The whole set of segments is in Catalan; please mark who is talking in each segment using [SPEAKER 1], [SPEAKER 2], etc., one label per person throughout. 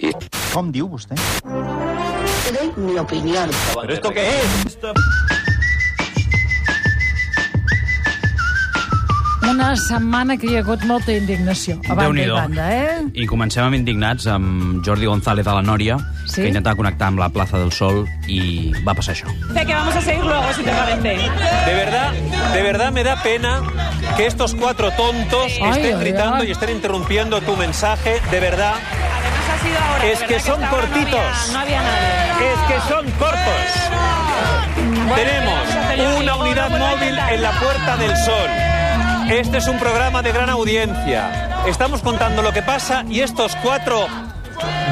[SPEAKER 1] I...
[SPEAKER 2] Com diu vostè?
[SPEAKER 3] Te doy mi opinión.
[SPEAKER 4] ¿Pero esto qué es?
[SPEAKER 5] Una setmana que hi ha hagut molta indignació. A banda i
[SPEAKER 6] Déu-n'hi-do.
[SPEAKER 5] banda, eh?
[SPEAKER 6] I comencem amb indignats amb Jordi González a la Nòria,
[SPEAKER 5] Sí?
[SPEAKER 6] que intentava connectar amb la plaça del Sol i va passar això.
[SPEAKER 7] De que vamos a seguir luego, si te parece.
[SPEAKER 4] De verdad, de verdad me da pena que estos cuatro tontos
[SPEAKER 5] Ay,
[SPEAKER 4] estén
[SPEAKER 5] ay,
[SPEAKER 4] gritando
[SPEAKER 5] ay.
[SPEAKER 4] y estén interrumpiendo tu mensaje. De verdad,
[SPEAKER 7] Además ha sido ahora.
[SPEAKER 4] Es
[SPEAKER 7] de verdad
[SPEAKER 4] que son
[SPEAKER 7] hasta ahora
[SPEAKER 4] cortitos.
[SPEAKER 7] No había, no había nadie.
[SPEAKER 4] es que son cortos. Tenemos una unidad móvil en la Puerta del Sol. Este es un programa de gran audiencia. Estamos contando lo que pasa y estos cuatro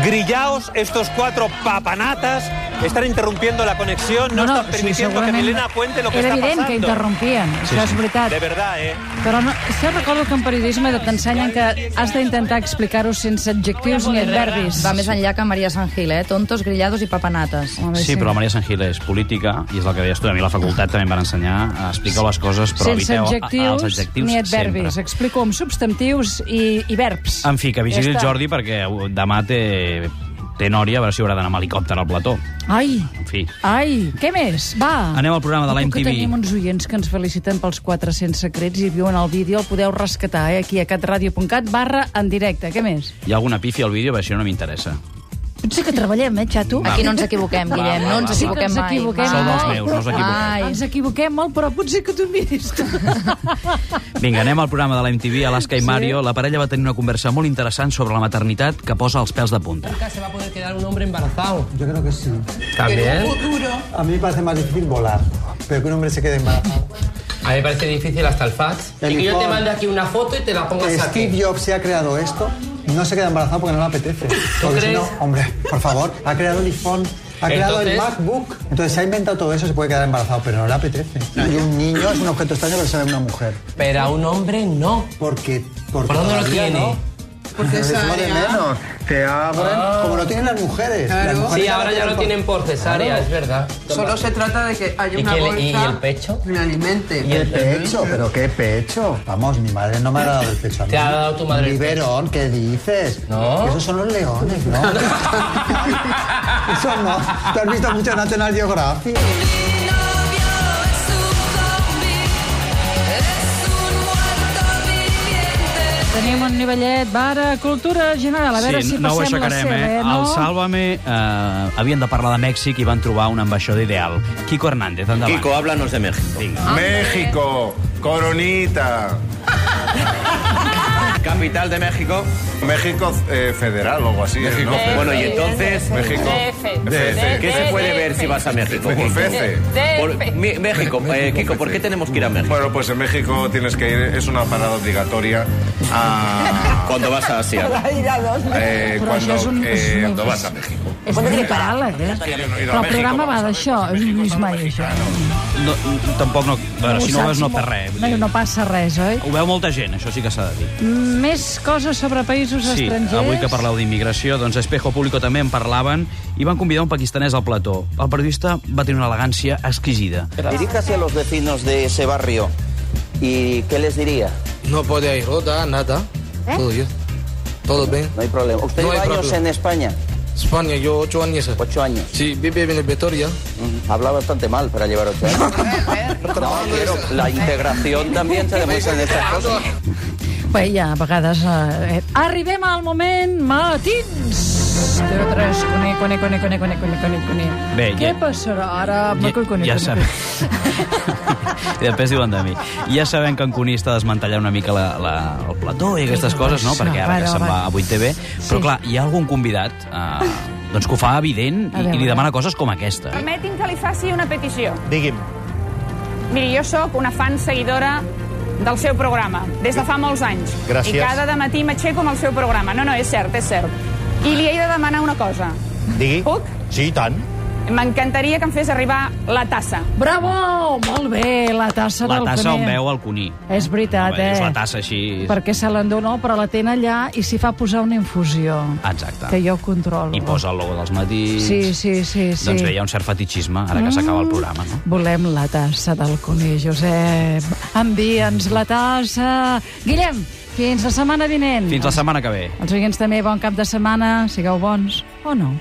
[SPEAKER 4] grillaos, estos cuatro papanatas, están interrumpiendo la conexión, no, están permitiendo que
[SPEAKER 5] segurament
[SPEAKER 4] Milena cuente lo que
[SPEAKER 5] Era
[SPEAKER 4] está
[SPEAKER 5] evident
[SPEAKER 4] pasando.
[SPEAKER 5] que interrompien, sí, això és veritat.
[SPEAKER 4] De verdad, ¿eh?
[SPEAKER 5] Però no, si recordo que en periodisme t'ensenyen que has d'intentar explicar-ho sense adjectius ni adverbis.
[SPEAKER 8] Va més enllà que Maria Sant Gil, eh? Tontos, grillados i papanates.
[SPEAKER 5] Home,
[SPEAKER 6] Sí, però la Maria Sant Gil és política i és el que deies tu. A mi a la facultat també em van ensenyar a explicar les coses, però
[SPEAKER 5] Sense
[SPEAKER 6] eviteu a-
[SPEAKER 5] adjectius,
[SPEAKER 6] els adjectius
[SPEAKER 5] ni adverbis.
[SPEAKER 6] sempre.
[SPEAKER 5] Explico amb substantius i, i verbs.
[SPEAKER 6] En fi, que vigili el
[SPEAKER 5] està.
[SPEAKER 6] Jordi perquè demà té, té Nòria, a veure si haurà d'anar amb helicòpter al plató.
[SPEAKER 5] Ai,
[SPEAKER 6] En fi.
[SPEAKER 5] ai, què més? Va.
[SPEAKER 6] Anem al programa de la
[SPEAKER 5] Diu Que
[SPEAKER 6] MTV.
[SPEAKER 5] tenim uns oients que ens feliciten pels 400 secrets i viuen el vídeo, el podeu rescatar eh? aquí a catradio.cat barra en directe. Què més?
[SPEAKER 6] Hi ha alguna pifi al vídeo? Perquè això no m'interessa.
[SPEAKER 5] Potser que treballem, eh, xato?
[SPEAKER 8] Aquí no ens equivoquem, Guillem, no ens
[SPEAKER 6] Sí
[SPEAKER 5] que
[SPEAKER 8] equivoquem
[SPEAKER 5] ens
[SPEAKER 8] mai.
[SPEAKER 5] equivoquem.
[SPEAKER 8] mai.
[SPEAKER 5] Sou dels
[SPEAKER 6] meus, no us equivoqueu.
[SPEAKER 8] Mai.
[SPEAKER 5] Ens equivoquem molt, però potser que tu em miris tu.
[SPEAKER 6] Vinga, anem al programa de la MTV, Alaska i Mario. La parella va tenir una conversa molt interessant sobre la maternitat que posa els pèls de punta.
[SPEAKER 9] se va a poder quedar un hombre embarazado.
[SPEAKER 10] Yo creo que sí.
[SPEAKER 9] También.
[SPEAKER 10] A mí me parece más difícil volar, pero que un hombre se quede embarazado.
[SPEAKER 9] A mí me parece difícil hasta el fax.
[SPEAKER 10] El
[SPEAKER 9] y que yo te
[SPEAKER 10] informe.
[SPEAKER 9] mande aquí una foto y te la pongas Pues aquí.
[SPEAKER 10] Steve Jobs se ha creado esto, no se queda embarazado porque no le apetece. Porque si
[SPEAKER 9] crees?
[SPEAKER 10] no, hombre, por favor, ha creado el iPhone, ha creado el
[SPEAKER 9] Entonces-
[SPEAKER 10] MacBook. Entonces se ha inventado todo eso, se puede quedar embarazado, pero no le apetece. Y un niño es un objeto extraño, pero se ve una mujer.
[SPEAKER 9] Pero a un hombre no.
[SPEAKER 10] Porque, porque
[SPEAKER 9] ¿Por dónde lo
[SPEAKER 10] todavía
[SPEAKER 9] tiene?
[SPEAKER 10] no. Porque es lo de menos. Te abren como lo tienen las mujeres. Las mujeres
[SPEAKER 9] Ah. Sí, ahora ya
[SPEAKER 10] tienen
[SPEAKER 9] lo
[SPEAKER 10] por-
[SPEAKER 9] tienen por cesárea, es verdad.
[SPEAKER 11] Solo se trata de que haya
[SPEAKER 9] ¿Y
[SPEAKER 11] una
[SPEAKER 9] qué
[SPEAKER 11] bolsa
[SPEAKER 9] le- y- y el pecho?
[SPEAKER 11] que me alimente.
[SPEAKER 10] ¿Y el pecho? ¿Pero qué pecho? Vamos, mi madre no me ha dado el pecho a mí.
[SPEAKER 9] Te ha dado tu madre el
[SPEAKER 10] Liberón, ¿qué dices?
[SPEAKER 9] No.
[SPEAKER 10] Esos son los leones, ¿no? Eso no. ¿Te has visto mucho National Geographic?
[SPEAKER 5] Tenim un nivellet, vara, cultura general. A veure si
[SPEAKER 6] no ho
[SPEAKER 5] passem la
[SPEAKER 6] aixecarem,
[SPEAKER 5] seva,
[SPEAKER 6] eh?
[SPEAKER 5] no?
[SPEAKER 6] El Sálvame eh, havien de parlar de Mèxic i van trobar un ambaixador ideal. Kiko Hernández, endavant.
[SPEAKER 4] Kiko, háblanos de México.
[SPEAKER 12] México, coronita.
[SPEAKER 4] Capital de México.
[SPEAKER 12] México eh, federal o algo así. México.
[SPEAKER 4] Bueno, y entonces...
[SPEAKER 12] México. DF.
[SPEAKER 4] ¿Qué se puede ver si vas a México?
[SPEAKER 12] DF.
[SPEAKER 4] Por- Mi- México, eh, Kiko, ¿por qué tenemos que ir a México?
[SPEAKER 12] Bueno, pues en México tienes que ir, es una parada obligatoria a...
[SPEAKER 4] Cuando vas a Asia.
[SPEAKER 12] eh,
[SPEAKER 5] Però
[SPEAKER 12] cuando,
[SPEAKER 5] això és un- és
[SPEAKER 12] eh,
[SPEAKER 5] un-
[SPEAKER 12] cuando vas a México.
[SPEAKER 5] És un paràleg, eh?
[SPEAKER 12] Yo no he ido
[SPEAKER 5] Però el
[SPEAKER 12] a México,
[SPEAKER 5] programa va
[SPEAKER 12] vamos a ver,
[SPEAKER 5] d'això,
[SPEAKER 12] en
[SPEAKER 5] és
[SPEAKER 12] México
[SPEAKER 5] Lluís
[SPEAKER 12] son los
[SPEAKER 5] Mai, això.
[SPEAKER 12] mexicanos.
[SPEAKER 6] No, tampoc no... A veure, si no ho veus no
[SPEAKER 5] saps
[SPEAKER 6] perd
[SPEAKER 5] molt.
[SPEAKER 6] res. vull
[SPEAKER 5] No,
[SPEAKER 6] dir.
[SPEAKER 5] no passa res, oi?
[SPEAKER 6] Ho veu molta gent, això sí que s'ha de dir.
[SPEAKER 5] Més coses sobre països
[SPEAKER 6] Sí,
[SPEAKER 5] estrangers.
[SPEAKER 6] avui que parleu d'immigració, doncs a Espejo Público també en parlaven i van convidar un pakistanès al plató. El periodista va tenir una elegància exquisida.
[SPEAKER 1] Diríjase a los vecinos de ese barrio y ¿qué les diría?
[SPEAKER 11] ¿Eh?
[SPEAKER 9] No podéis rota, nada. Todo bien. Todo bien.
[SPEAKER 1] No hay problema. ¿Usted
[SPEAKER 9] No
[SPEAKER 1] lleva
[SPEAKER 9] hay
[SPEAKER 1] años
[SPEAKER 9] problema.
[SPEAKER 1] en España?
[SPEAKER 9] España, yo ocho años.
[SPEAKER 1] Ocho años.
[SPEAKER 9] Sí, vive en Vitoria.
[SPEAKER 1] Mm, Habla bastante mal para llevar ocho años. No, pero la integración también se demuestra en estas cosas.
[SPEAKER 5] Bé, ja, a vegades... Eh... Arribem al moment matins! TV3, cone, cone, cone, cone, cone, cone, cone, cone.
[SPEAKER 6] Bé,
[SPEAKER 5] Què
[SPEAKER 6] ja-
[SPEAKER 5] passarà ara?
[SPEAKER 6] Ja,
[SPEAKER 5] Maco, cone,
[SPEAKER 6] ja
[SPEAKER 5] cone,
[SPEAKER 6] sabem.
[SPEAKER 5] cone.
[SPEAKER 6] I després diuen de mi. Ja sabem que en Cuní està desmantellant una mica la, la, el plató i aquestes coses, no? Perquè ara que se'n va a 8TV. Però, clar, hi ha algun convidat eh, doncs que ho fa evident i, i li demana coses com aquesta.
[SPEAKER 7] Permeti'm que li faci una petició.
[SPEAKER 2] Digui'm.
[SPEAKER 7] Miri, jo sóc una fan seguidora del seu programa, des de fa molts anys.
[SPEAKER 2] Gràcies.
[SPEAKER 7] I cada matí m'aixeco amb el seu programa. No, no, és cert, és cert. I li he de demanar una cosa.
[SPEAKER 2] Digui.
[SPEAKER 7] Puc?
[SPEAKER 2] Sí, i tant.
[SPEAKER 7] M'encantaria que em fes arribar la tassa.
[SPEAKER 5] Bravo! Molt bé, la tassa
[SPEAKER 6] La
[SPEAKER 5] del
[SPEAKER 6] tassa on
[SPEAKER 5] cuiner.
[SPEAKER 6] veu el cuní.
[SPEAKER 5] És veritat,
[SPEAKER 6] Home, dius,
[SPEAKER 5] eh?
[SPEAKER 6] La tassa així...
[SPEAKER 5] Perquè se l'endú, no, però la tenen allà i s'hi fa posar una infusió.
[SPEAKER 6] Exacte.
[SPEAKER 5] Que jo controlo.
[SPEAKER 6] Ah, I posa el logo dels matins...
[SPEAKER 5] Sí, sí, sí, sí.
[SPEAKER 6] Doncs bé, hi ha un cert fetichisme, ara que s'acaba el programa, no?
[SPEAKER 5] Volem la tassa del cuní, Josep. Envia'ns la tassa. Guillem, fins la setmana vinent.
[SPEAKER 6] Fins la setmana que ve.
[SPEAKER 5] Els oients també, bon cap de setmana. Sigueu bons o no.